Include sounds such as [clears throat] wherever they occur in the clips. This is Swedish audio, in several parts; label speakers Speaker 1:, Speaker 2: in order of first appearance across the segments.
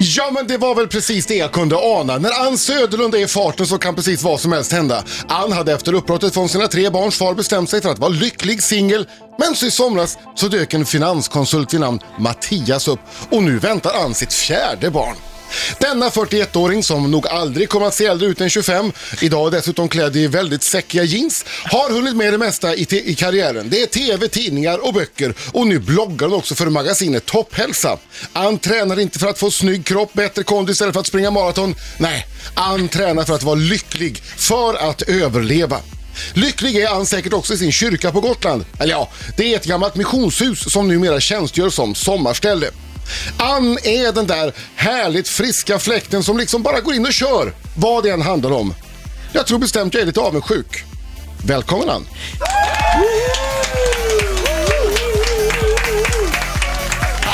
Speaker 1: Ja men det var väl precis det jag kunde ana. När Ann Söderlund är i farten så kan precis vad som helst hända. Ann hade efter uppbrottet från sina tre barns far bestämt sig för att vara lycklig singel. Men så i somras så dök en finanskonsult vid namn Mattias upp och nu väntar Ann sitt fjärde barn. Denna 41-åring som nog aldrig kommer att se äldre ut än 25, idag dessutom klädd i väldigt säckiga jeans, har hunnit med det mesta i, te- i karriären. Det är tv, tidningar och böcker och nu bloggar hon också för magasinet Topphälsa. Ann tränar inte för att få snygg kropp, bättre kondis istället för att springa maraton. Nej, Ann tränar för att vara lycklig, för att överleva. Lycklig är han säkert också i sin kyrka på Gotland. Eller ja, det är ett gammalt missionshus som numera tjänstgör som sommarställe. Ann är den där härligt friska fläkten som liksom bara går in och kör, vad det än handlar om. Jag tror bestämt jag är lite avundsjuk. Välkommen Ann!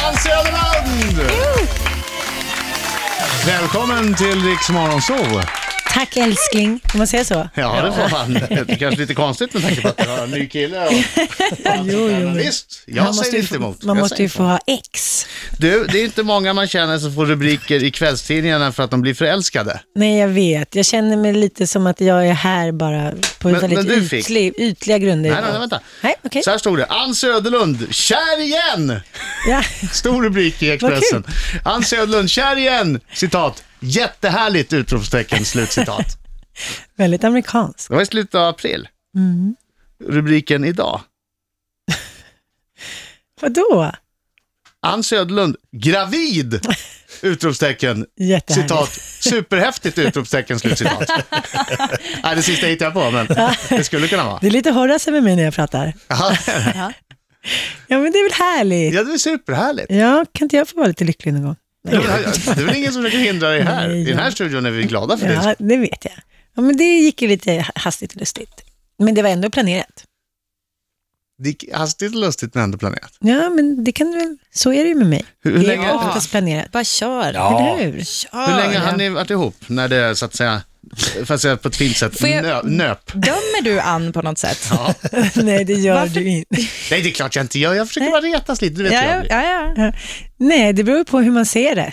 Speaker 1: Ann Söderlund!
Speaker 2: Välkommen till Riks Morgonzoo.
Speaker 3: Tack älskling, får man säga så?
Speaker 2: Ja, det får [laughs] man. Det är kanske lite konstigt med tanke på att du har en ny kille. Och... jo, jo. Visst, jag
Speaker 3: man måste
Speaker 2: säger
Speaker 3: ju
Speaker 2: inte
Speaker 3: få,
Speaker 2: emot.
Speaker 3: Man
Speaker 2: Jag
Speaker 3: måste
Speaker 2: säger
Speaker 3: ju
Speaker 2: inte
Speaker 3: få ha ex.
Speaker 2: emot. Du, det är inte många man känner som får rubriker i kvällstidningarna för att de blir förälskade.
Speaker 3: Nej, jag vet. Jag känner mig lite som att jag är här bara på
Speaker 2: Men-
Speaker 3: väldigt
Speaker 2: men du fick-
Speaker 3: ytlig, ytliga grunder.
Speaker 2: Nej, nej, nej, vänta.
Speaker 3: Nej, okej.
Speaker 2: Så här stod det. Ann Söderlund, kär igen!
Speaker 3: Ja. [laughs]
Speaker 2: Stor rubrik i Expressen. Ann Söderlund, kär igen! Citat. Jättehärligt! Utropstecken, slutcitat.
Speaker 3: [laughs] Väldigt amerikansk.
Speaker 2: Det var i slutet av april.
Speaker 3: Mm.
Speaker 2: Rubriken idag.
Speaker 3: Vadå?
Speaker 2: Ann Söderlund, gravid!
Speaker 4: [laughs]
Speaker 2: Utropstecken,
Speaker 3: Jättehärligt.
Speaker 2: citat, superhäftigt utropstecken,
Speaker 4: [laughs]
Speaker 2: slutcitat. Nej, det sista hittade jag på, men det skulle kunna vara.
Speaker 3: Det är lite Horace med mig när jag pratar.
Speaker 2: Ja,
Speaker 3: Ja, men det är väl härligt?
Speaker 2: det är
Speaker 4: [laughs]
Speaker 2: superhärligt.
Speaker 3: Ja, kan inte jag få vara lite lycklig någon gång?
Speaker 2: Det är väl ingen som försöker hindra dig här.
Speaker 3: Nej,
Speaker 2: I den här
Speaker 3: jag-
Speaker 2: studion är vi glada för det.
Speaker 3: Ja, det vet jag. Ja, men det gick ju lite hastigt och lustigt. Men det var ändå planerat.
Speaker 2: Det gick hastigt och lustigt, men ändå planerat.
Speaker 3: Ja, men det kan du väl... Så är det ju med mig.
Speaker 2: Hur- hur
Speaker 3: det är
Speaker 2: länge-
Speaker 3: oftast planerat.
Speaker 4: Bara kör.
Speaker 3: Eller hur?
Speaker 4: Kör.
Speaker 2: Hur länge har ni varit ihop? När det, så att säga, för att säga på ett fint sätt,
Speaker 4: Får jag-
Speaker 2: nö, nöp?
Speaker 4: Dömer du Ann på något sätt?
Speaker 3: [laughs] Nej, det gör
Speaker 4: Varför-
Speaker 3: du inte.
Speaker 2: Nej, det är klart jag inte gör. Jag försöker bara retas lite, det vet jag.
Speaker 4: ja, ja.
Speaker 3: Ja. Nej, det beror på hur man ser det.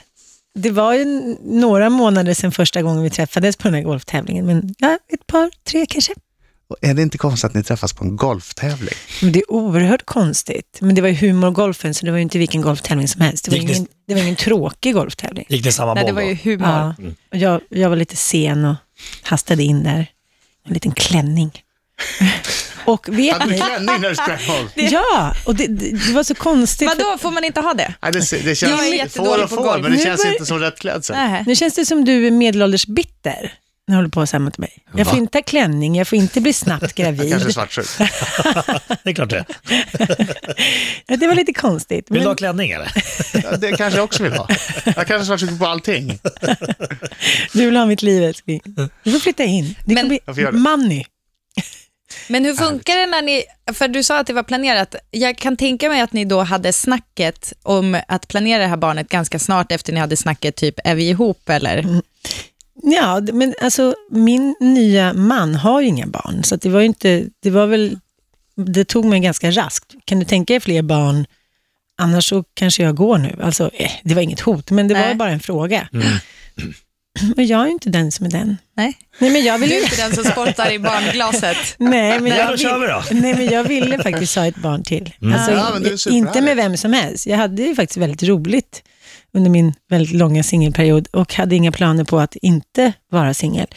Speaker 3: Det var ju n- några månader sedan första gången vi träffades på den här golftävlingen, men ja, ett par, tre kanske.
Speaker 2: Och Är det inte konstigt att ni träffas på en golftävling?
Speaker 3: Men det är oerhört konstigt. Men det var ju humorgolfen, så det var ju inte vilken golftävling som helst. Det var,
Speaker 5: Gick det-
Speaker 3: ingen, det var ingen tråkig golftävling.
Speaker 5: Gick det samma
Speaker 4: Nej, det
Speaker 5: boll
Speaker 4: var
Speaker 5: då?
Speaker 4: ju humor.
Speaker 3: Ja.
Speaker 2: Mm.
Speaker 3: Och jag, jag var lite sen och hastade in där. En liten klänning. [laughs] Och vet
Speaker 2: Hade du
Speaker 3: ni?
Speaker 2: klänning när du sprang golf?
Speaker 3: Ja, och det, det, det var så konstigt. för-
Speaker 4: Vadå, får man inte ha det?
Speaker 2: Nej, det, det
Speaker 4: Jag är
Speaker 2: känns
Speaker 4: jättedålig
Speaker 2: får och
Speaker 4: på
Speaker 2: får,
Speaker 4: golf.
Speaker 2: men det
Speaker 3: Nu
Speaker 2: känns
Speaker 3: börjar-
Speaker 2: inte som rätt klädsel.
Speaker 4: Nej.
Speaker 3: Nu känns det som du är medelålders bitter när du håller på och säger mot mig. Jag får inte ha klänning, jag får inte
Speaker 2: [laughs]
Speaker 3: bli snabbt
Speaker 2: Kanske
Speaker 3: gravid.
Speaker 2: svartsjuk.
Speaker 5: Det är klart det.
Speaker 3: [laughs] Ja, det var lite konstigt.
Speaker 5: Vill du ha
Speaker 3: Men,
Speaker 5: klänning eller?
Speaker 2: Ja, Det kanske jag också vill ha. Jag kanske är svartsjuk på allting.
Speaker 3: du vill ha mitt liv älskling. Du får flytta in. Det kommer
Speaker 4: Men-
Speaker 2: Mm. Jag får göra
Speaker 3: bli
Speaker 2: det.
Speaker 3: money.
Speaker 4: Men hur funkar det när ni, för du sa att det var planerat, jag kan tänka mig att ni då hade snacket om att planera det här barnet ganska snart efter ni hade snacket typ, är vi ihop eller?
Speaker 3: Ja, d- men alltså min nya man har ju inga barn, så att det var ju inte, det var väl, det tog mig ganska raskt. Kan du tänka dig fler barn? Annars så kanske jag går nu. Alltså, eh, det var inget hot, men det var
Speaker 4: Nej.
Speaker 3: ju bara en fråga. Men jag är ju inte den som är den.
Speaker 4: Nej.
Speaker 3: Nej, men jag vill
Speaker 4: Du
Speaker 3: ju
Speaker 4: är inte den som spottar i barnglaset.
Speaker 3: Nej, men
Speaker 5: Ja,
Speaker 3: jag,
Speaker 5: då kör vi då. Mm.
Speaker 3: nej, men jag ville faktiskt ha ett barn till. Alltså,
Speaker 2: Ja, men det är superhärligt.
Speaker 3: inte med vem som helst. Jag hade ju faktiskt väldigt roligt under min väldigt långa singelperiod och hade inga planer på att inte vara singel.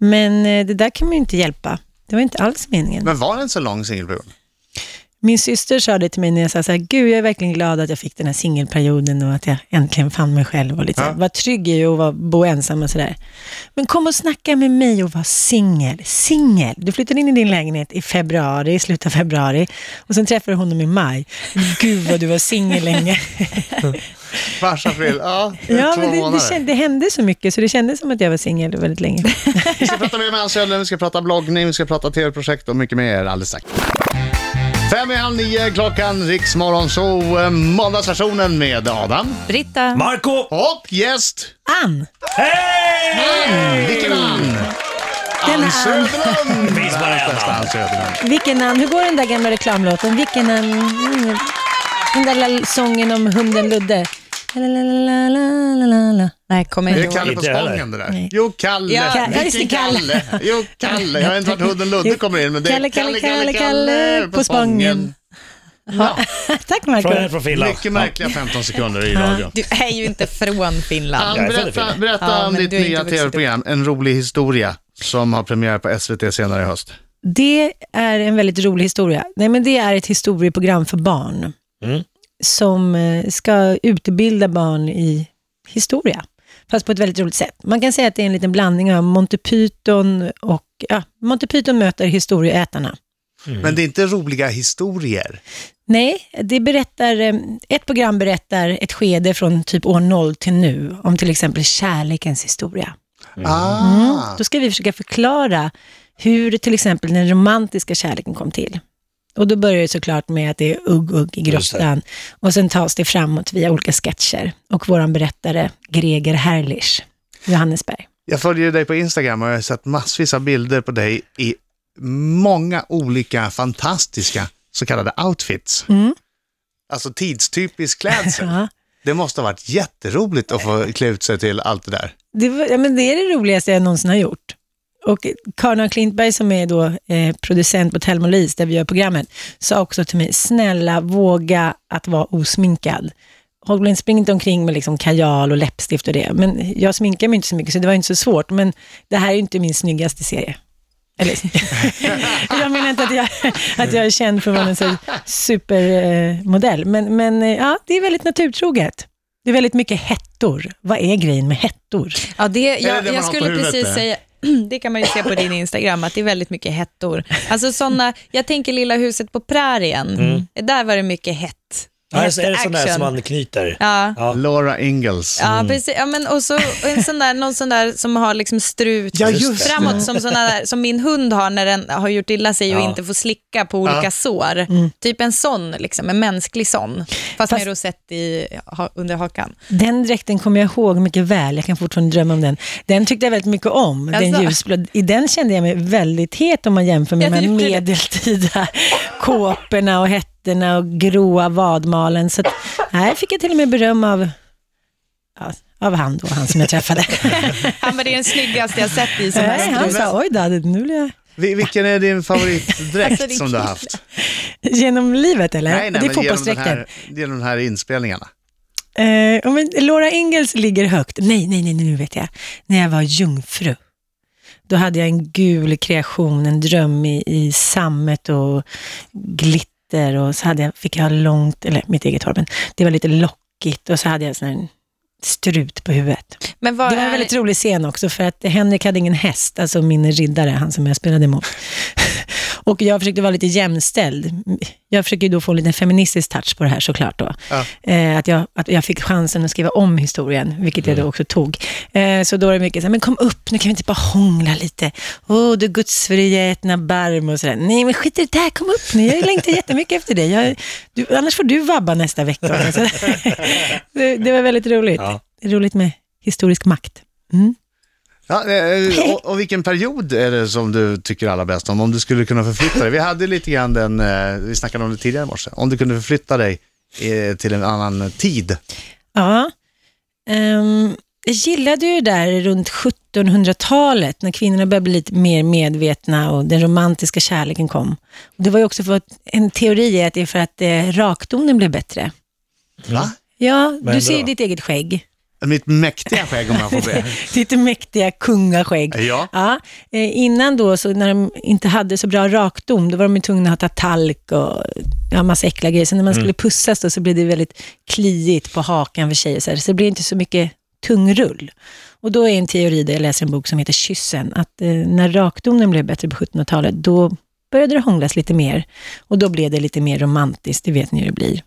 Speaker 3: Men eh, det där kan man ju inte hjälpa. Det var inte alls meningen.
Speaker 2: Men var det en så lång singelperiod?
Speaker 3: Min syster sa det till mig när jag sa så här, gud jag är verkligen glad att jag fick den här singelperioden och att jag äntligen fann mig själv och lite,
Speaker 2: Ja.
Speaker 3: ja. var trygg i att vara- bo ensam och sådär. Men kom och snacka med mig och var singel, singel. Du flyttade in i din lägenhet i februari, i slutet av februari och sen träffade du honom i maj. Gud vad du var singel [laughs] länge.
Speaker 2: Mars, april, ja,
Speaker 3: ja,
Speaker 2: två
Speaker 3: men det, det,
Speaker 2: månader.
Speaker 3: känd, det hände så mycket så det kändes som att jag var singel väldigt länge. [laughs]
Speaker 2: Vi ska prata mer med Ann Söderlund, vi ska prata bloggning, vi ska prata tv-projekt och mycket mer alldeles strax. Fem i halv nio, klockan, Riksmorgon, så eh, måndagsversionen med Adam.
Speaker 4: Britta,
Speaker 5: Marco!
Speaker 2: Och gäst,
Speaker 3: Ann!
Speaker 5: Hej!
Speaker 2: Ann! Vilken Ann?
Speaker 3: Den
Speaker 2: Ann
Speaker 3: här Ann.
Speaker 2: Söderlund!
Speaker 5: Finns bara en
Speaker 2: Bästa Ann Söderlund.
Speaker 3: Vilken Ann, hur går den där gamla reklamlåten? Vilken Ann? Mm. Den där lilla sången om hunden Ludde. La, la, la, la, la, la, la, la.
Speaker 4: Nej, kommer
Speaker 2: Det
Speaker 4: inte
Speaker 2: är Kalle
Speaker 4: ihåg.
Speaker 2: på
Speaker 5: Inte heller.
Speaker 2: Spången det där.
Speaker 3: Nej.
Speaker 2: Jo, Kalle.
Speaker 4: Ja, Ka-
Speaker 2: Vilken
Speaker 3: just det, Kalle.
Speaker 2: Jo, Kalle. Jag har inte varit hunden Ludde kommer in, men det är
Speaker 3: Kalle, Kalle, Kalle, Kalle på Spången.
Speaker 2: Ja,
Speaker 3: [laughs] Tack
Speaker 5: Från, jag är
Speaker 3: Marco.
Speaker 5: från Finland.
Speaker 2: mycket märkliga 15 sekunder i radio.
Speaker 4: Du är ju inte från Finland.
Speaker 2: Ann,
Speaker 5: Jag är född i
Speaker 2: berätta,
Speaker 5: Finland.
Speaker 2: berätta
Speaker 4: Ja,
Speaker 2: om
Speaker 4: men
Speaker 2: ditt
Speaker 4: du är inte
Speaker 2: nya
Speaker 4: vuxen upp.
Speaker 2: tv-program, En rolig historia, som har premiär på SVT senare i höst.
Speaker 3: Det är en väldigt rolig historia. Nej, men det är ett historieprogram för barn
Speaker 5: Mm.
Speaker 3: som eh, ska utbilda barn i historia, fast på ett väldigt roligt sätt. Man kan säga att det är en liten blandning av Monty Python och ja, Monty Python möter historieätarna.
Speaker 2: Men det är inte roliga historier.
Speaker 3: Nej, det berättar, eh, ett program berättar ett skede från typ år 0 till nu, om till exempel kärlekens historia.
Speaker 2: Ah.
Speaker 3: Då ska vi försöka förklara hur till exempel den romantiska kärleken kom till. Och då börjar det såklart med att det är ugg-ugg i
Speaker 5: Just det.
Speaker 3: grottan och sen tas det framåt via olika sketcher och våran berättare Greger Herrlich, Johannesberg.
Speaker 2: Jag följer ju dig på Instagram och jag har sett massvis av bilder på dig i många olika fantastiska så kallade outfits.
Speaker 3: Mm.
Speaker 2: Alltså tidstypisk klädsel.
Speaker 3: Ja.
Speaker 2: Det måste ha varit jätteroligt att få klä ut sig till allt det där.
Speaker 3: Det, var, ja, men det är det roligaste jag någonsin har gjort. Och Karin af Klintberg som är då, eh, producent på Thelma och Louise, där vi gör programmet, sa också till mig, snälla våga att vara osminkad. Håll- Spring inte omkring med liksom kajal och läppstift och det. Men jag sminkar mig inte så mycket, så det var inte så svårt. Men det här är ju inte min snyggaste serie. Eller, [laughs] jag menar inte att jag, att jag är känd för att vara en sån supermodell, men, men eh, ja, det är väldigt naturtroget. Det är väldigt mycket hettor. Vad är grejen med hettor?
Speaker 4: Ja, det,
Speaker 2: det
Speaker 4: jag,
Speaker 2: det man
Speaker 4: jag
Speaker 2: har på
Speaker 4: skulle
Speaker 2: huvudet,
Speaker 4: precis
Speaker 2: det?
Speaker 4: säga, [clears throat] det kan man ju se på din Instagram, att det är väldigt mycket hettor. Alltså såna, jag tänker Lilla huset på prärien, där var det mycket hett.
Speaker 5: Ja, alltså, är det sån där
Speaker 4: Action.
Speaker 5: som man knyter?
Speaker 4: Ja.
Speaker 5: Ja.
Speaker 2: Laura Ingalls.
Speaker 4: Ja, precis. Ja, men och så en sån där, någon sån där som har liksom strut
Speaker 2: Ja, just det.
Speaker 4: framåt, som, såna där, som min hund har när den har gjort illa sig och
Speaker 5: Ja.
Speaker 4: inte får slicka på olika sår. Typ en sån, liksom, en mänsklig sån, fast, med rosett i, ha, under hakan.
Speaker 3: Den dräkten kommer jag ihåg mycket väl. Jag kan fortfarande drömma om den. Den tyckte jag väldigt mycket om. Den
Speaker 4: Alltså.
Speaker 3: ljusblå. I den kände jag mig väldigt het om man jämför med
Speaker 4: Ja,
Speaker 3: de här
Speaker 4: det gjorde det.
Speaker 3: medeltida [laughs] kåporna och hettorna och gråa vadmalen. Så att, här fick jag till och med beröm av, ja, av han då, han som jag
Speaker 4: [laughs]
Speaker 3: träffade.
Speaker 4: Han var det är den snyggaste jag sett i sån här
Speaker 3: Nej, han
Speaker 4: strut.
Speaker 3: sa, oj då, det- nu blir jag...
Speaker 2: Vi- Vilken är din favoritdräkt
Speaker 4: Alltså, det är
Speaker 2: som du har haft?
Speaker 3: Genom livet eller? det är
Speaker 2: men genom, den
Speaker 3: fotbollsdräkten.
Speaker 2: här, genom de här inspelningarna.
Speaker 3: Eh, och men Laura Ingalls ligger högt. Nej, nej, nej, nu vet jag. När jag var jungfru, då hade jag en gul kreation, en dröm i, i sammet och glitter och så hade jag, fick jag ha långt, eller mitt eget hår, men det var lite lockigt och så hade jag sån här strut på huvudet.
Speaker 4: Men vad
Speaker 3: Det var en
Speaker 4: är-
Speaker 3: väldigt rolig scen också för att Henrik hade ingen häst, alltså min riddare, han som jag spelade emot. [laughs] och jag försökte vara lite jämställd. Jag försöker ju då få en liten feministisk touch på det här såklart då.
Speaker 2: Ja.
Speaker 3: Eh, att, jag, att jag fick chansen att skriva om historien, vilket jag då också tog. Eh, så då är det mycket så här, men kom upp, nu kan vi inte bara hångla lite. Åh, du gudsförgätna barm och sådär. Nej, men skit i det där, kom upp nu. Jag längtar jättemycket efter dig. Jag, du, annars får du vabba nästa vecka. Och så- det, det var väldigt roligt.
Speaker 5: Ja.
Speaker 3: Det är roligt med historisk makt. Mm.
Speaker 2: Ja, eh, och, och vilken period är det som du tycker allra bäst om? Om du skulle kunna förflytta dig. Vi hade lite grann den, eh, vi snackade om det tidigare i morse. Om du kunde förflytta dig eh, till en annan tid.
Speaker 3: Ja. Ehm, jag gillade ju där runt 1700-talet när kvinnorna började bli lite mer medvetna och den romantiska kärleken kom. Och det var ju också för att, en teori är att det är för att eh, rakdomen blev bättre.
Speaker 2: Va?
Speaker 3: Ja,
Speaker 5: ändå.
Speaker 3: du ser ju ditt eget skägg.
Speaker 2: Mitt mäktiga skägg om jag får be.
Speaker 3: Ditt mäktiga kungaskägg.
Speaker 2: Ja.
Speaker 3: [laughs] Ja, eh, innan då, så när de inte hade så bra rakdom, då var de ju tvungna att ha talk och ja, massa äckliga grejer. Sen när man skulle pussas då, så blev det väldigt kliigt på hakan för tjejer. Så, här, så det blir inte så mycket tungrull. Och då är en teori, där jag läser en bok som heter Kyssen, att eh, när rakdomen blev bättre på 1700-talet, då började det hånglas lite mer. Och då blev det lite mer romantiskt, det vet ni hur det blir.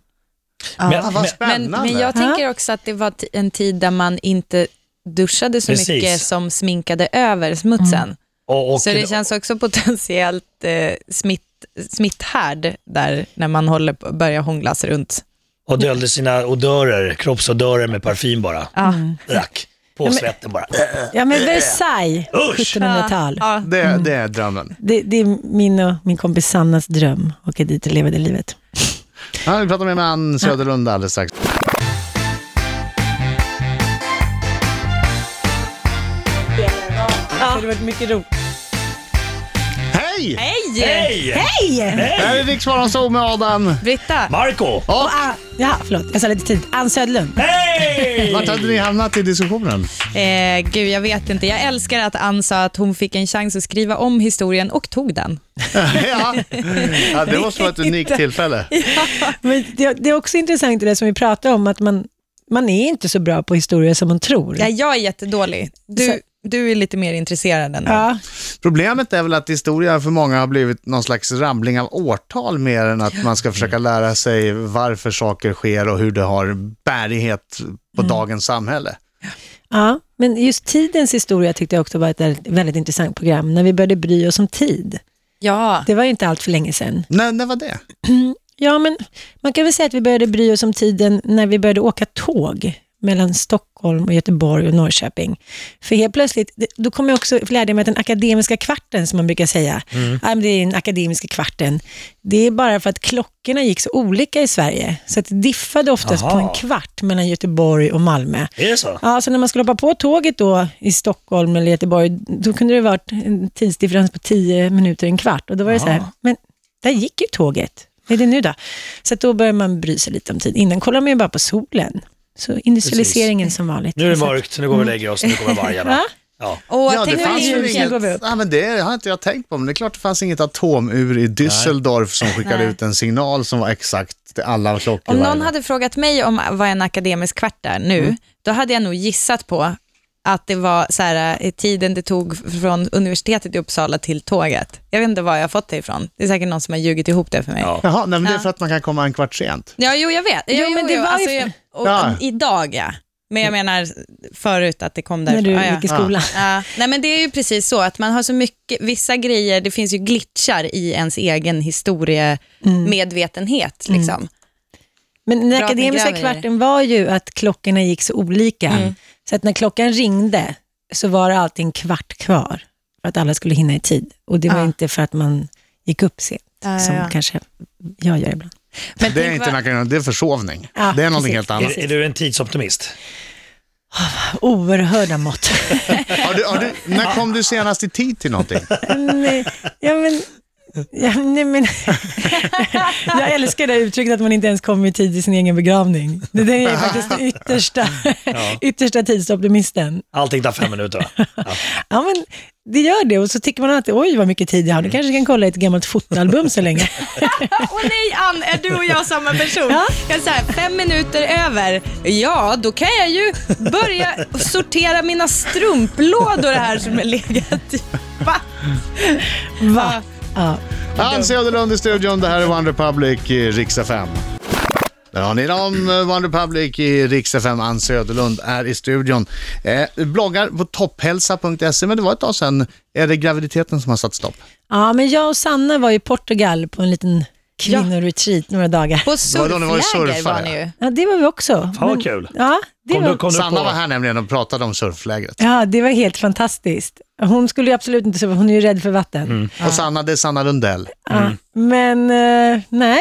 Speaker 2: Ah,
Speaker 5: Men, men,
Speaker 2: vad
Speaker 4: Men,
Speaker 2: spännande.
Speaker 4: men jag tänker också att det var t- en tid där man inte duschade så
Speaker 5: Precis.
Speaker 4: mycket som sminkade över smutsen.
Speaker 5: och, och,
Speaker 4: Så det känns också potentiellt eh, smitt, smitthärd där när man håller på, börjar hånglas runt.
Speaker 5: och döljde sina odörer, kroppsodörer med parfym bara.
Speaker 4: Ja. Mm.
Speaker 5: Drack. På svetten bara.
Speaker 3: Ja, men Versailles,
Speaker 5: Usch!
Speaker 3: 1700-tal.
Speaker 4: Ja.
Speaker 2: Det, det är drömmen.
Speaker 3: Det, det är min och min kompis Sannas dröm, att åka dit och leva det livet.
Speaker 2: Ja, vi pratar med Ann Söderlund alldeles strax.
Speaker 3: hade varit mycket roligt.
Speaker 2: Hej!
Speaker 4: Hej!
Speaker 5: Hej!
Speaker 3: Hej!
Speaker 2: Det här är Rix Morgonzoo med Adam.
Speaker 4: Britta,
Speaker 5: Marco!
Speaker 3: Och Ann, ja, förlåt, jag sa lite tid. Ann Södlund.
Speaker 5: Hej!
Speaker 2: Vart hade ni hamnat i diskussionen? [laughs]
Speaker 4: eh, gud jag vet inte. Jag älskar att Ann sa att hon fick en chans att skriva om historien och tog den.
Speaker 2: ja. ja, det måste vara ett unikt tillfälle.
Speaker 3: Men det, det är också intressant det där som vi pratar om, att man, man är inte så bra på historia som man tror.
Speaker 4: Ja, jag är jättedålig.
Speaker 3: Så-
Speaker 4: Du, du är lite mer intresserad än
Speaker 3: Ja.
Speaker 2: Problemet är väl att historia för många har blivit någon slags ramling av årtal mer än att man ska försöka
Speaker 4: Mm.
Speaker 2: lära sig varför saker sker och hur det har bärighet på
Speaker 4: Mm.
Speaker 2: dagens samhälle.
Speaker 3: Ja, men just tidens historia tyckte jag också var ett väldigt- väldigt intressant program, när vi började bry oss om tid.
Speaker 4: Ja,
Speaker 3: Det var ju inte allt för länge sedan.
Speaker 2: När, när var det?
Speaker 3: Ja, men man kan väl säga att vi började bry oss om tiden när vi började åka tåg mellan Stockholm och Göteborg och Norrköping. För helt plötsligt, det- då kom jag också lärde mig att den akademiska kvarten, som man brukar säga, mm. men det är den akademiska kvarten, det är bara för att klockorna gick så olika i Sverige, så att det diffade oftast
Speaker 5: Aha.
Speaker 3: på en kvart mellan Göteborg och Malmö.
Speaker 5: Är det så?
Speaker 3: Ja, så när man skulle hoppa på tåget då i Stockholm eller Göteborg, då kunde det varit en tidsdifferens på 10 minuter, en kvart. Och då var det så här, men där gick ju tåget. Vad är det nu då? Så att då börjar man bry sig lite om tid. Innan kollar man ju bara på solen. Så industrialiseringen som vanligt.
Speaker 5: Nu är det
Speaker 3: Så att-
Speaker 5: mörkt, nu går vi och lägger oss, nu kommer
Speaker 4: [laughs]
Speaker 5: vargarna.
Speaker 3: Va?
Speaker 5: Ja.
Speaker 4: och
Speaker 2: det
Speaker 4: tänk om
Speaker 3: fanns ju
Speaker 4: Lincoln-
Speaker 3: inget- går vi upp.
Speaker 2: Ja, men det har inte jag tänkt på, men det är klart det fanns inget atomur i Düsseldorf som skickade
Speaker 4: Nej.
Speaker 2: ut en signal som var exakt till alla klockor.
Speaker 4: Om någon hade frågat mig om vad en akademisk kvart är nu, då hade jag nog gissat på att det var så här, eh, tiden det tog från universitetet i Uppsala till tåget. Jag vet inte var jag har fått det ifrån. Det är säkert någon som har ljugit ihop det för mig. Ja,
Speaker 5: Ja.
Speaker 2: Jaha, nej, men det är
Speaker 4: Ja.
Speaker 2: för att man kan komma en kvart sent.
Speaker 4: jo, jag vet. Jo,
Speaker 3: men det
Speaker 4: jo,
Speaker 3: var
Speaker 4: alltså,
Speaker 3: ju-
Speaker 4: jag, och,
Speaker 2: Ja.
Speaker 4: Idag, ja. Men jag menar förut att det kom
Speaker 3: När
Speaker 4: därifrån.
Speaker 3: du
Speaker 4: Ja, ja.
Speaker 3: gick i skolan.
Speaker 4: Ja, nej men det är ju precis så att man har så mycket, vissa grejer, det finns ju glitchar i ens egen historiemedvetenhet. Liksom.
Speaker 3: Men den
Speaker 4: Bra att ni
Speaker 3: akademiska
Speaker 4: gräver i det. Mm.
Speaker 3: kvarten var ju att klockorna gick så olika. Så att när klockan ringde så var det alltid en kvart kvar för att alla skulle hinna i tid. Och det var
Speaker 4: Ja.
Speaker 3: inte för att man gick upp sent,
Speaker 4: Ja, ja,
Speaker 3: som
Speaker 4: ja.
Speaker 3: kanske jag gör ibland.
Speaker 4: Men
Speaker 2: Det är
Speaker 4: tänk
Speaker 2: inte
Speaker 4: vad-
Speaker 2: en akademisk, det är försovning.
Speaker 3: Ja,
Speaker 2: det är någonting
Speaker 3: precis.
Speaker 2: helt annat.
Speaker 5: Är, är du en tidsoptimist?
Speaker 3: Oerhörda mått.
Speaker 2: Har du, har du, när kom du senast i tid till någonting?
Speaker 3: [laughs] nej, ja, men, ja, nej, men, [laughs] jag älskar det uttrycket att man inte ens kommer i tid till sin egen begravning. Det
Speaker 4: [laughs]
Speaker 3: där är faktiskt den yttersta, [laughs] yttersta tidsoptimisten.
Speaker 5: Allting tar fem minuter va? Ja.
Speaker 3: Ja, men det gör det. Och så tycker man alltid, oj vad mycket tid jag har.
Speaker 5: Mm.
Speaker 3: Nu kanske jag kan kolla ett gammalt fotoalbum
Speaker 5: [laughs]
Speaker 3: så länge.
Speaker 4: [laughs] Åh nej Ann, är du och jag samma person?
Speaker 3: Ja.
Speaker 4: Jag är så här, fem minuter över, ja då kan jag ju börja sortera mina strumplådor här som har legat i. Va?
Speaker 3: Va? Ja.
Speaker 2: Ann Söderlund i studion, det här är One Republic i Rix FM. Där har ni dem, One Republic i Rix FM. Ann Söderlund är i studion. Eh, bloggar på topphälsa.se, E, men det var ett tag sedan. Är det graviditeten som har satt stopp?
Speaker 3: ja, men jag och Sanna var i Portugal på en liten kvinnoretreat några dagar.
Speaker 4: På
Speaker 2: var då ni var ju
Speaker 4: surfläger var
Speaker 2: surfare.
Speaker 4: ni ju.
Speaker 3: Ja, det var vi också.
Speaker 5: Fan vad
Speaker 3: Men-
Speaker 5: kul.
Speaker 3: Ja, det
Speaker 5: Kom
Speaker 3: var
Speaker 5: du, kom du
Speaker 2: Sanna
Speaker 5: på...
Speaker 2: var här nämligen och pratade om surflägret.
Speaker 3: Ja, det var helt fantastiskt. Hon skulle ju absolut inte sova, hon är ju rädd för vatten.
Speaker 5: Mm.
Speaker 2: Och Sanna, det är Sanna Lundell.
Speaker 3: Ja. Men eh, nej,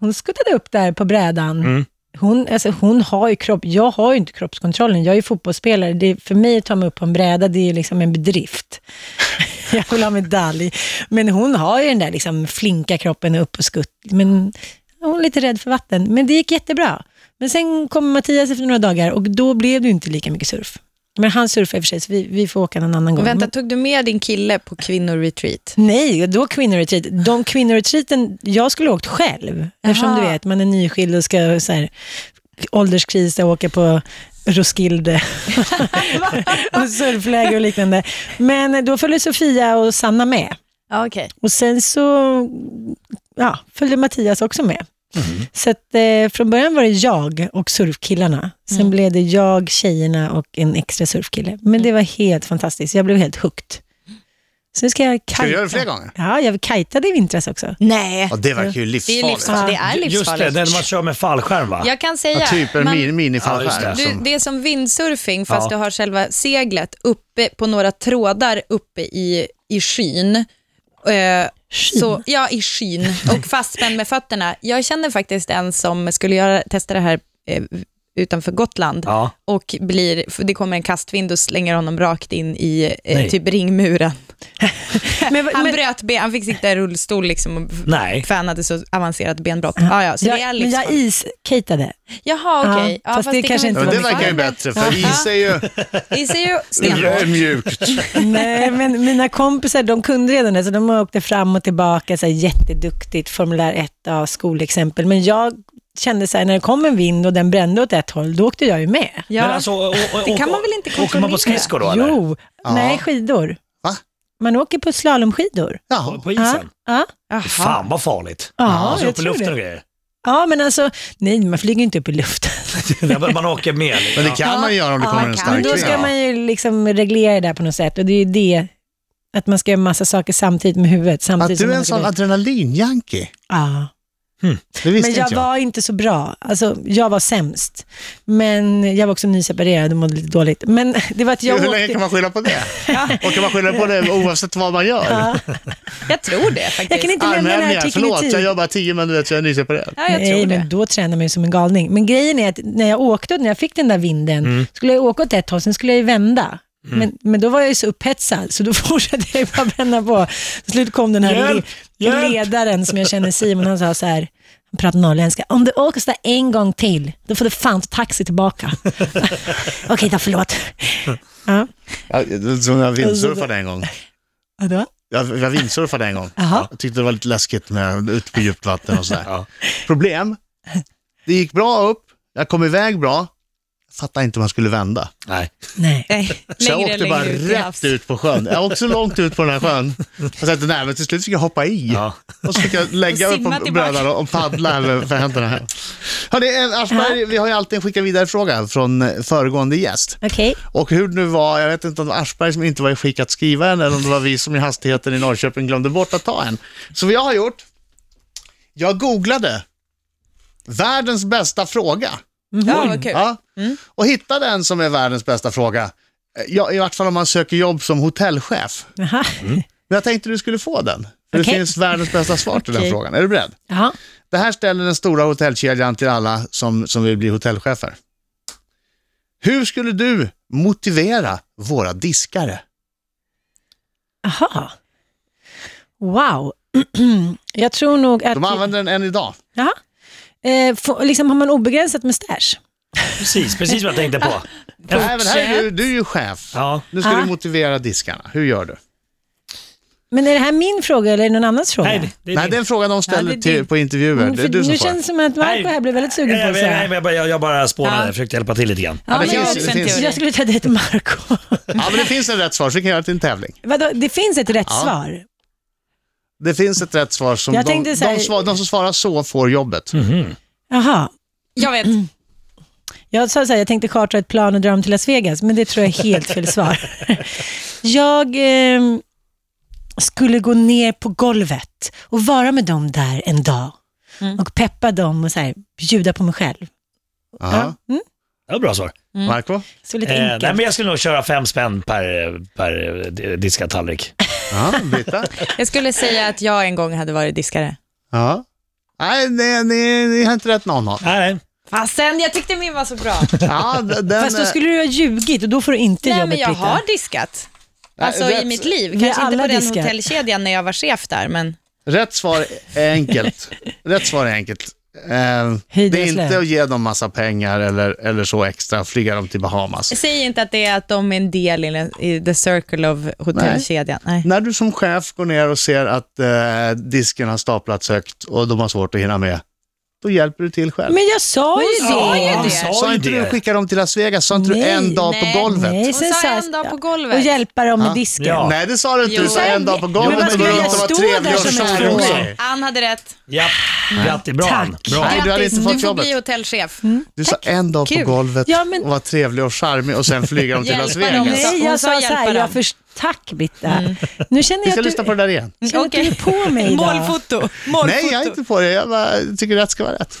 Speaker 3: hon skuttade upp där på brädan. Hon, alltså, hon har ju kropp, jag har ju inte kroppskontrollen, jag är ju fotbollsspelare. Det, är- för mig att ta mig upp på en bräda, det är ju liksom en bedrift. [laughs] jag vill ha medalj. Men hon har ju den där liksom, flinka kroppen upp och skutt. Men hon är lite rädd för vatten. Men det gick jättebra. Men sen kom Mattias efter några dagar och då blev det ju inte lika mycket surf. Men han surfar i och för sig, så vi, vi får åka någon annan gång.
Speaker 4: Vänta, tog du med din kille på kvinnoretreat?
Speaker 3: Nej, då kvinnoretreat. De kvinnoretreaten, jag skulle ha åkt själv. Eftersom
Speaker 4: Jaha.
Speaker 3: du vet, man är nyskild och ska så här, ålderskris, och åka på Roskilde och surfläger och liknande. Men då följde Sofia och Sanna med.
Speaker 4: Ja, okej.
Speaker 3: Och sen så ja, följde Mattias också med.
Speaker 2: Mm.
Speaker 3: Så att, eh, från början var det jag och surfkillarna. Sen
Speaker 4: Mm.
Speaker 3: blev det jag, tjejerna och en extra surfkille. Men det var helt fantastiskt. Jag blev helt hooked. Så nu ska jag kajta.
Speaker 2: Ska du göra det fler gånger?
Speaker 3: Ja, jag kajtade i vintras
Speaker 4: [laughs]
Speaker 3: också.
Speaker 4: Nej,
Speaker 2: Ja, det verkar ju
Speaker 4: det är,
Speaker 2: livsfarligt.
Speaker 4: livsfarligt. det är
Speaker 5: Just det,
Speaker 4: livsfarligt.
Speaker 5: den man kör med fallskärm va?
Speaker 4: Jag kan säga,
Speaker 2: Ja, typ en
Speaker 4: man-
Speaker 2: min,
Speaker 5: Ja, just
Speaker 2: minifallskärm.
Speaker 5: det.
Speaker 4: Du,
Speaker 2: som-
Speaker 4: det är som windsurfing fast
Speaker 5: Alltså- Ja.
Speaker 4: du har själva seglet uppe på några trådar uppe i, i skyn. Eh, Så, ja, i skyn och fastspänd med fötterna. Jag känner faktiskt en som skulle göra, testa det här eh, utanför Gotland
Speaker 5: Ja.
Speaker 4: och blir, för det kommer en kastvind och slänger honom rakt in i eh,
Speaker 5: Nej.
Speaker 4: typ ringmuren.
Speaker 3: Men,
Speaker 4: Han
Speaker 3: men,
Speaker 4: bröt ben, han fick sitta i rullstol liksom och
Speaker 5: Nej.
Speaker 4: för han hade så avancerat benbrott. Ja, ja, så det är liksom-
Speaker 3: jag, men
Speaker 4: livsfarligt.
Speaker 3: jag iskateade.
Speaker 4: Jaha,
Speaker 3: Ja,
Speaker 4: okej.
Speaker 3: fast det kanske
Speaker 4: kan
Speaker 3: inte
Speaker 2: Ja, men
Speaker 4: vi
Speaker 2: det verkar ju bättre, för is är ju
Speaker 4: Is är ju stenhårt.
Speaker 2: mjukt.
Speaker 3: Nej, men mina kompisar de kunde redan det, så de åkte fram och tillbaka så här, jätteduktigt, formulär 1A, skolexempel. Men jag kände så här, när det kom en vind och den brände åt ett håll, då åkte jag ju med.
Speaker 4: Ja.
Speaker 5: Men alltså, och, och,
Speaker 4: Det
Speaker 5: och-
Speaker 4: kan man väl inte
Speaker 5: Åker man
Speaker 4: kontrollera?
Speaker 5: på skridskor då eller?
Speaker 3: Jo, nej skidor.
Speaker 2: Va?
Speaker 3: Man åker på slalomskidor.
Speaker 2: Jaha.
Speaker 5: På isen?
Speaker 3: Ja,
Speaker 4: Jaha.
Speaker 5: Fan vad farligt.
Speaker 3: ja,
Speaker 5: alltså,
Speaker 3: jag
Speaker 5: upp i
Speaker 3: tror
Speaker 5: luften och
Speaker 3: det.
Speaker 5: grejer. [laughs]
Speaker 3: Ja, men alltså, nej, man flyger inte upp i luften. [laughs]
Speaker 5: Nej, men Man åker med. liksom.
Speaker 2: Men det kan man göra om det
Speaker 4: Ja,
Speaker 2: kommer
Speaker 4: man
Speaker 2: en
Speaker 4: kan.
Speaker 2: stark
Speaker 3: Men då
Speaker 2: vind.
Speaker 3: ska man ju liksom reglera det där på något sätt och det är ju det, att man ska göra massa saker samtidigt med huvudet. Samtidigt
Speaker 2: Att du
Speaker 3: som
Speaker 2: är
Speaker 3: man
Speaker 2: en
Speaker 3: ska-
Speaker 2: sån adrenalinjanke,
Speaker 3: Ja.
Speaker 2: det visste
Speaker 3: Men jag
Speaker 2: inte jag.
Speaker 3: var inte så bra. Alltså, jag var sämst. Men jag var också nyseparerad och mådde lite dåligt. Men [laughs] det var att jag
Speaker 2: Hur länge
Speaker 3: åkte...
Speaker 2: kan man skylla på
Speaker 3: [laughs]
Speaker 2: det? Och kan man skylla på det oavsett vad man gör?
Speaker 4: Jag tror det faktiskt.
Speaker 3: Jag kan inte lämna den här
Speaker 2: Armhävningar,
Speaker 3: artikeln i
Speaker 2: förlåt, jag
Speaker 3: tid.
Speaker 2: gör bara tio men du vet jag är nyseparerad.
Speaker 4: Ja, jag
Speaker 3: Nej,
Speaker 4: tror
Speaker 3: men
Speaker 4: det.
Speaker 3: då tränar man ju som en galning. Men grejen är att när jag åkte och när jag fick den där vinden,
Speaker 2: Mm.
Speaker 3: skulle jag ju åka åt ett håll, sen skulle jag ju vända. Men, men då var jag ju så upphetsad, så då [laughs] fortsatte jag ju bara bränna på. Till slut kom den här
Speaker 5: Hjälp,
Speaker 3: le-
Speaker 5: hjälp.
Speaker 3: ledaren som jag känner, Simon, han sa så här, han pratade norrländska, om du åker sådär en gång till, då får du fan ta taxi tillbaka. [laughs] Okej då, förlåt. Ja,
Speaker 2: Ja, Som när jag
Speaker 3: Alltså,
Speaker 2: vindsurfade en gång.
Speaker 3: vadå?
Speaker 2: Jag, jag vindsurfade en gång.
Speaker 3: Jaha.
Speaker 2: Jag tyckte det var lite läskigt med ut på djupt vatten och sådär.
Speaker 5: Ja.
Speaker 2: Problem, det gick bra upp, jag kom iväg bra, jag fattade inte om jag skulle vända.
Speaker 5: Nej.
Speaker 3: Nej.
Speaker 5: Eh.
Speaker 4: Nej,
Speaker 2: Så jag
Speaker 4: längre,
Speaker 2: åkte
Speaker 4: längre
Speaker 2: bara
Speaker 4: ut i havs.
Speaker 2: rätt ut på sjön. Jag åkte också långt ut på den här sjön. Jag sa att nej, men till slut fick jag hoppa i.
Speaker 5: Ja.
Speaker 2: Och så fick jag lägga
Speaker 4: Och
Speaker 2: upp
Speaker 4: simma
Speaker 2: på
Speaker 4: tillbaka.
Speaker 2: brödan och paddla här med för händerna. här. Hörni, eh, Aschberg, vi har ju alltid en skicka vidare-fråga från eh, föregående gäst.
Speaker 3: Okej.
Speaker 2: Och hur det nu var, jag vet inte om det var Aschberg som inte var i skick att skriva en eller om det var vi som i hastigheten i Norrköping glömde bort att ta en. Så vad jag har gjort, jag googlade världens bästa fråga.
Speaker 4: Ja, vad kul.
Speaker 2: Ja. Och hitta den som är världens bästa fråga. Eh, Ja, I vart fall om man söker jobb som hotellchef.
Speaker 3: Jaha.
Speaker 2: Men jag tänkte du skulle få den. För
Speaker 3: Okej.
Speaker 2: Det finns världens bästa svar till den
Speaker 3: Okej.
Speaker 2: frågan. Är du beredd?
Speaker 3: Ja.
Speaker 2: Det här ställer den stora hotellkedjan till alla som, som vill bli hotellchefer. Hur skulle du motivera våra diskare?
Speaker 3: Jaha. Wow. [clears throat] jag tror nog att...
Speaker 2: De använder den än idag.
Speaker 3: Jaha. Eh, få, liksom har man obegränsat mustasch?
Speaker 5: Precis, precis vad jag tänkte på.
Speaker 2: Nej, men här är du, du är ju chef.
Speaker 5: Ja.
Speaker 2: Nu ska
Speaker 3: Ja.
Speaker 2: du motivera diskarna. Hur gör du?
Speaker 3: Men är det här min fråga eller är det någon annans fråga?
Speaker 5: Nej, det är
Speaker 2: Nej,
Speaker 5: din-
Speaker 2: det är en fråga de ställer
Speaker 4: Ja, det är
Speaker 2: till,
Speaker 4: din.
Speaker 2: på intervjuer.
Speaker 3: Mm,
Speaker 2: det
Speaker 3: för
Speaker 2: är du som
Speaker 3: nu
Speaker 2: får.
Speaker 3: känns det som att Marco här blev väldigt sugen på
Speaker 5: Nej,
Speaker 3: att
Speaker 5: nej, nej,
Speaker 3: säga.
Speaker 5: men jag bara- jag bara spånade,
Speaker 4: Ja.
Speaker 5: jag försökte hjälpa till lite grann.
Speaker 4: Ja,
Speaker 2: det
Speaker 4: men jag
Speaker 2: finns-
Speaker 4: har också
Speaker 2: det
Speaker 4: en
Speaker 2: finns-
Speaker 4: teori.
Speaker 3: Jag skulle ta dit Marco. [laughs]
Speaker 2: Ja, men det finns ett rätt svar, så vi kan göra det till en tävling.
Speaker 3: Vadå, det finns ett rätt
Speaker 2: Ja.
Speaker 3: svar?
Speaker 2: Det finns ett rätt svar som de,
Speaker 3: Jag tänkte så här-
Speaker 2: de, svar, de som svarar så får jobbet.
Speaker 5: Mm.
Speaker 3: Jaha.
Speaker 4: Jag vet.
Speaker 3: Jag sa så här, jag tänkte chartra ett plan och dra dem till Las Vegas, men det tror jag är helt fel svar.
Speaker 4: [laughs]
Speaker 3: jag ehm, skulle gå ner på golvet och vara med dem där en dag.
Speaker 4: Mm.
Speaker 3: Och peppa dem och så här, bjuda på mig själv.
Speaker 2: Aha.
Speaker 5: Det var bra svar.
Speaker 3: Mm.
Speaker 2: Marco?
Speaker 3: Så lite
Speaker 5: Eh, nej,
Speaker 3: enkelt.
Speaker 5: men jag skulle nog köra fem spänn per, per eh, diskad
Speaker 3: [laughs]
Speaker 5: tallrik.
Speaker 2: Ja, Britta?
Speaker 4: Jag skulle säga att jag en gång hade varit diskare.
Speaker 2: Ja. Nej, ni, ni, ni har inte rätt någon av.
Speaker 5: Nej, nej.
Speaker 4: Fasen, jag tyckte min var
Speaker 3: [laughs]
Speaker 4: så bra.
Speaker 2: Ja, d- den,
Speaker 3: Fast då skulle du ha ljugit och då får du inte
Speaker 4: Nej,
Speaker 3: jobbet
Speaker 4: men jag
Speaker 3: Britta.
Speaker 4: har diskat. Alltså
Speaker 2: Nej,
Speaker 4: i
Speaker 2: rätt-
Speaker 4: mitt liv.
Speaker 3: Vi
Speaker 4: Kanske
Speaker 3: har
Speaker 4: inte på
Speaker 3: alla
Speaker 4: den
Speaker 3: diskat.
Speaker 4: hotellkedjan när jag var chef där, men
Speaker 2: Rätt svar är
Speaker 3: [laughs]
Speaker 2: enkelt. Rätt svar är enkelt. Eh,
Speaker 3: Höj
Speaker 2: det är
Speaker 3: deras lön.
Speaker 2: inte att ge dem massa pengar eller, eller så extra, flyga dem till Bahamas.
Speaker 4: säg inte att det är att de är en del i, den- i the circle of hotellkedjan. Nej.
Speaker 2: När du som chef går ner och ser att eh, disken har staplats högt och de har svårt att hinna med, då hjälper du till själv.
Speaker 3: Men jag sa ju det.
Speaker 4: sa ju det.
Speaker 5: sa
Speaker 2: Sa
Speaker 5: ju
Speaker 2: inte
Speaker 5: det.
Speaker 2: du skicka dem till Las Vegas? Sa inte du
Speaker 3: Nej,
Speaker 2: en dag
Speaker 4: nej,
Speaker 2: på golvet?
Speaker 3: Nej,
Speaker 4: Hon
Speaker 3: sen
Speaker 4: sa
Speaker 3: sa jag-
Speaker 4: en dag på golvet.
Speaker 3: Och hjälpa dem med
Speaker 2: Ah, Ja.
Speaker 3: disken.
Speaker 5: Ja.
Speaker 2: Nej, det sa du inte.
Speaker 4: Jo.
Speaker 2: Du sa en dag på
Speaker 5: Jo, men
Speaker 2: golvet.
Speaker 5: vad
Speaker 2: och gå
Speaker 5: skulle
Speaker 2: runt
Speaker 5: jag
Speaker 2: och vara
Speaker 3: stå
Speaker 2: trevlig
Speaker 3: där
Speaker 2: och
Speaker 3: som en
Speaker 2: charmig
Speaker 3: fråga?
Speaker 2: också.
Speaker 4: Ann hade rätt.
Speaker 5: Japp, grattis. Bra, Ann.
Speaker 3: Tack.
Speaker 5: bra.
Speaker 2: Nej, du hade inte
Speaker 4: Grattis,
Speaker 2: fått
Speaker 4: du får
Speaker 2: jobbet.
Speaker 4: bli hotellchef. Mm,
Speaker 2: Du sa en dag
Speaker 4: Kul.
Speaker 2: på golvet
Speaker 3: Ja, men-
Speaker 2: och vara trevlig och charmig och sen flyga dem till Las
Speaker 4: Hjälpa dem.
Speaker 2: Vegas.
Speaker 3: Nej,
Speaker 4: Hon
Speaker 3: jag
Speaker 4: sa
Speaker 3: sa så
Speaker 4: hjälpa
Speaker 3: här,
Speaker 4: dem. Mm.
Speaker 3: jag först... Tack Britta. Nu känner
Speaker 2: Vi
Speaker 3: jag
Speaker 2: ska
Speaker 3: att du,
Speaker 2: lyssna på det där igen.
Speaker 3: känner att du är på mig
Speaker 4: [laughs]
Speaker 3: idag.
Speaker 4: Målfoto.
Speaker 2: Nej, jag är inte på det. Jag bara tycker rätt ska vara rätt.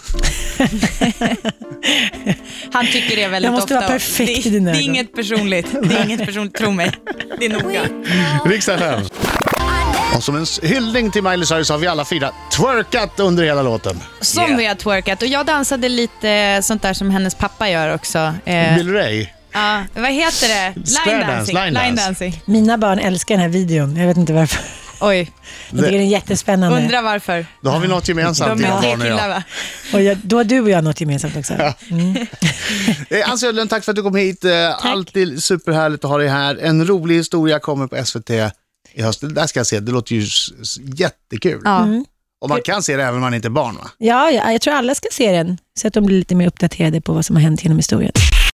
Speaker 4: Han tycker det väldigt
Speaker 3: Jag måste
Speaker 4: ofta.
Speaker 3: vara perfekt
Speaker 4: det,
Speaker 3: i dina
Speaker 4: det är
Speaker 3: ögon.
Speaker 4: inget personligt. Det är inget personligt, tro mig. Det är noga.
Speaker 2: Riksdag 5.
Speaker 6: I
Speaker 2: Och som en s- hyllning till Miley Cyrus har vi alla fyra twerkat under hela låten.
Speaker 4: Som
Speaker 5: Yeah.
Speaker 4: vi har twerkat. Och jag dansade lite sånt där som hennes pappa gör också. Eh,
Speaker 2: Bill Ray.
Speaker 4: ja, vad heter det?
Speaker 2: Square
Speaker 4: Line
Speaker 2: dance,
Speaker 4: dancing.
Speaker 2: line
Speaker 4: Line
Speaker 2: dance.
Speaker 4: dancing.
Speaker 3: Mina barn älskar den här videon. Jag vet inte varför.
Speaker 4: Oj,
Speaker 3: Jag tycker den är jättespännande.
Speaker 4: undrar varför.
Speaker 2: Då har vi något gemensamt.
Speaker 4: De
Speaker 2: dina
Speaker 4: är tre
Speaker 2: barn och jag.
Speaker 4: killar va?
Speaker 3: Och jag, då har du och jag något gemensamt också.
Speaker 2: Eh, Ann Söderlund, tack för att du kom hit. Eh, Alltid superhärligt att ha dig här. En rolig historia kommer på SVT i höst. Det där ska jag se, det låter ju s- s- jättekul.
Speaker 4: Ja.
Speaker 2: Och man kan se det även om man inte är barn va?
Speaker 3: Ja, ja, jag tror alla ska se den, så att de blir lite mer uppdaterade på vad som har hänt genom historien.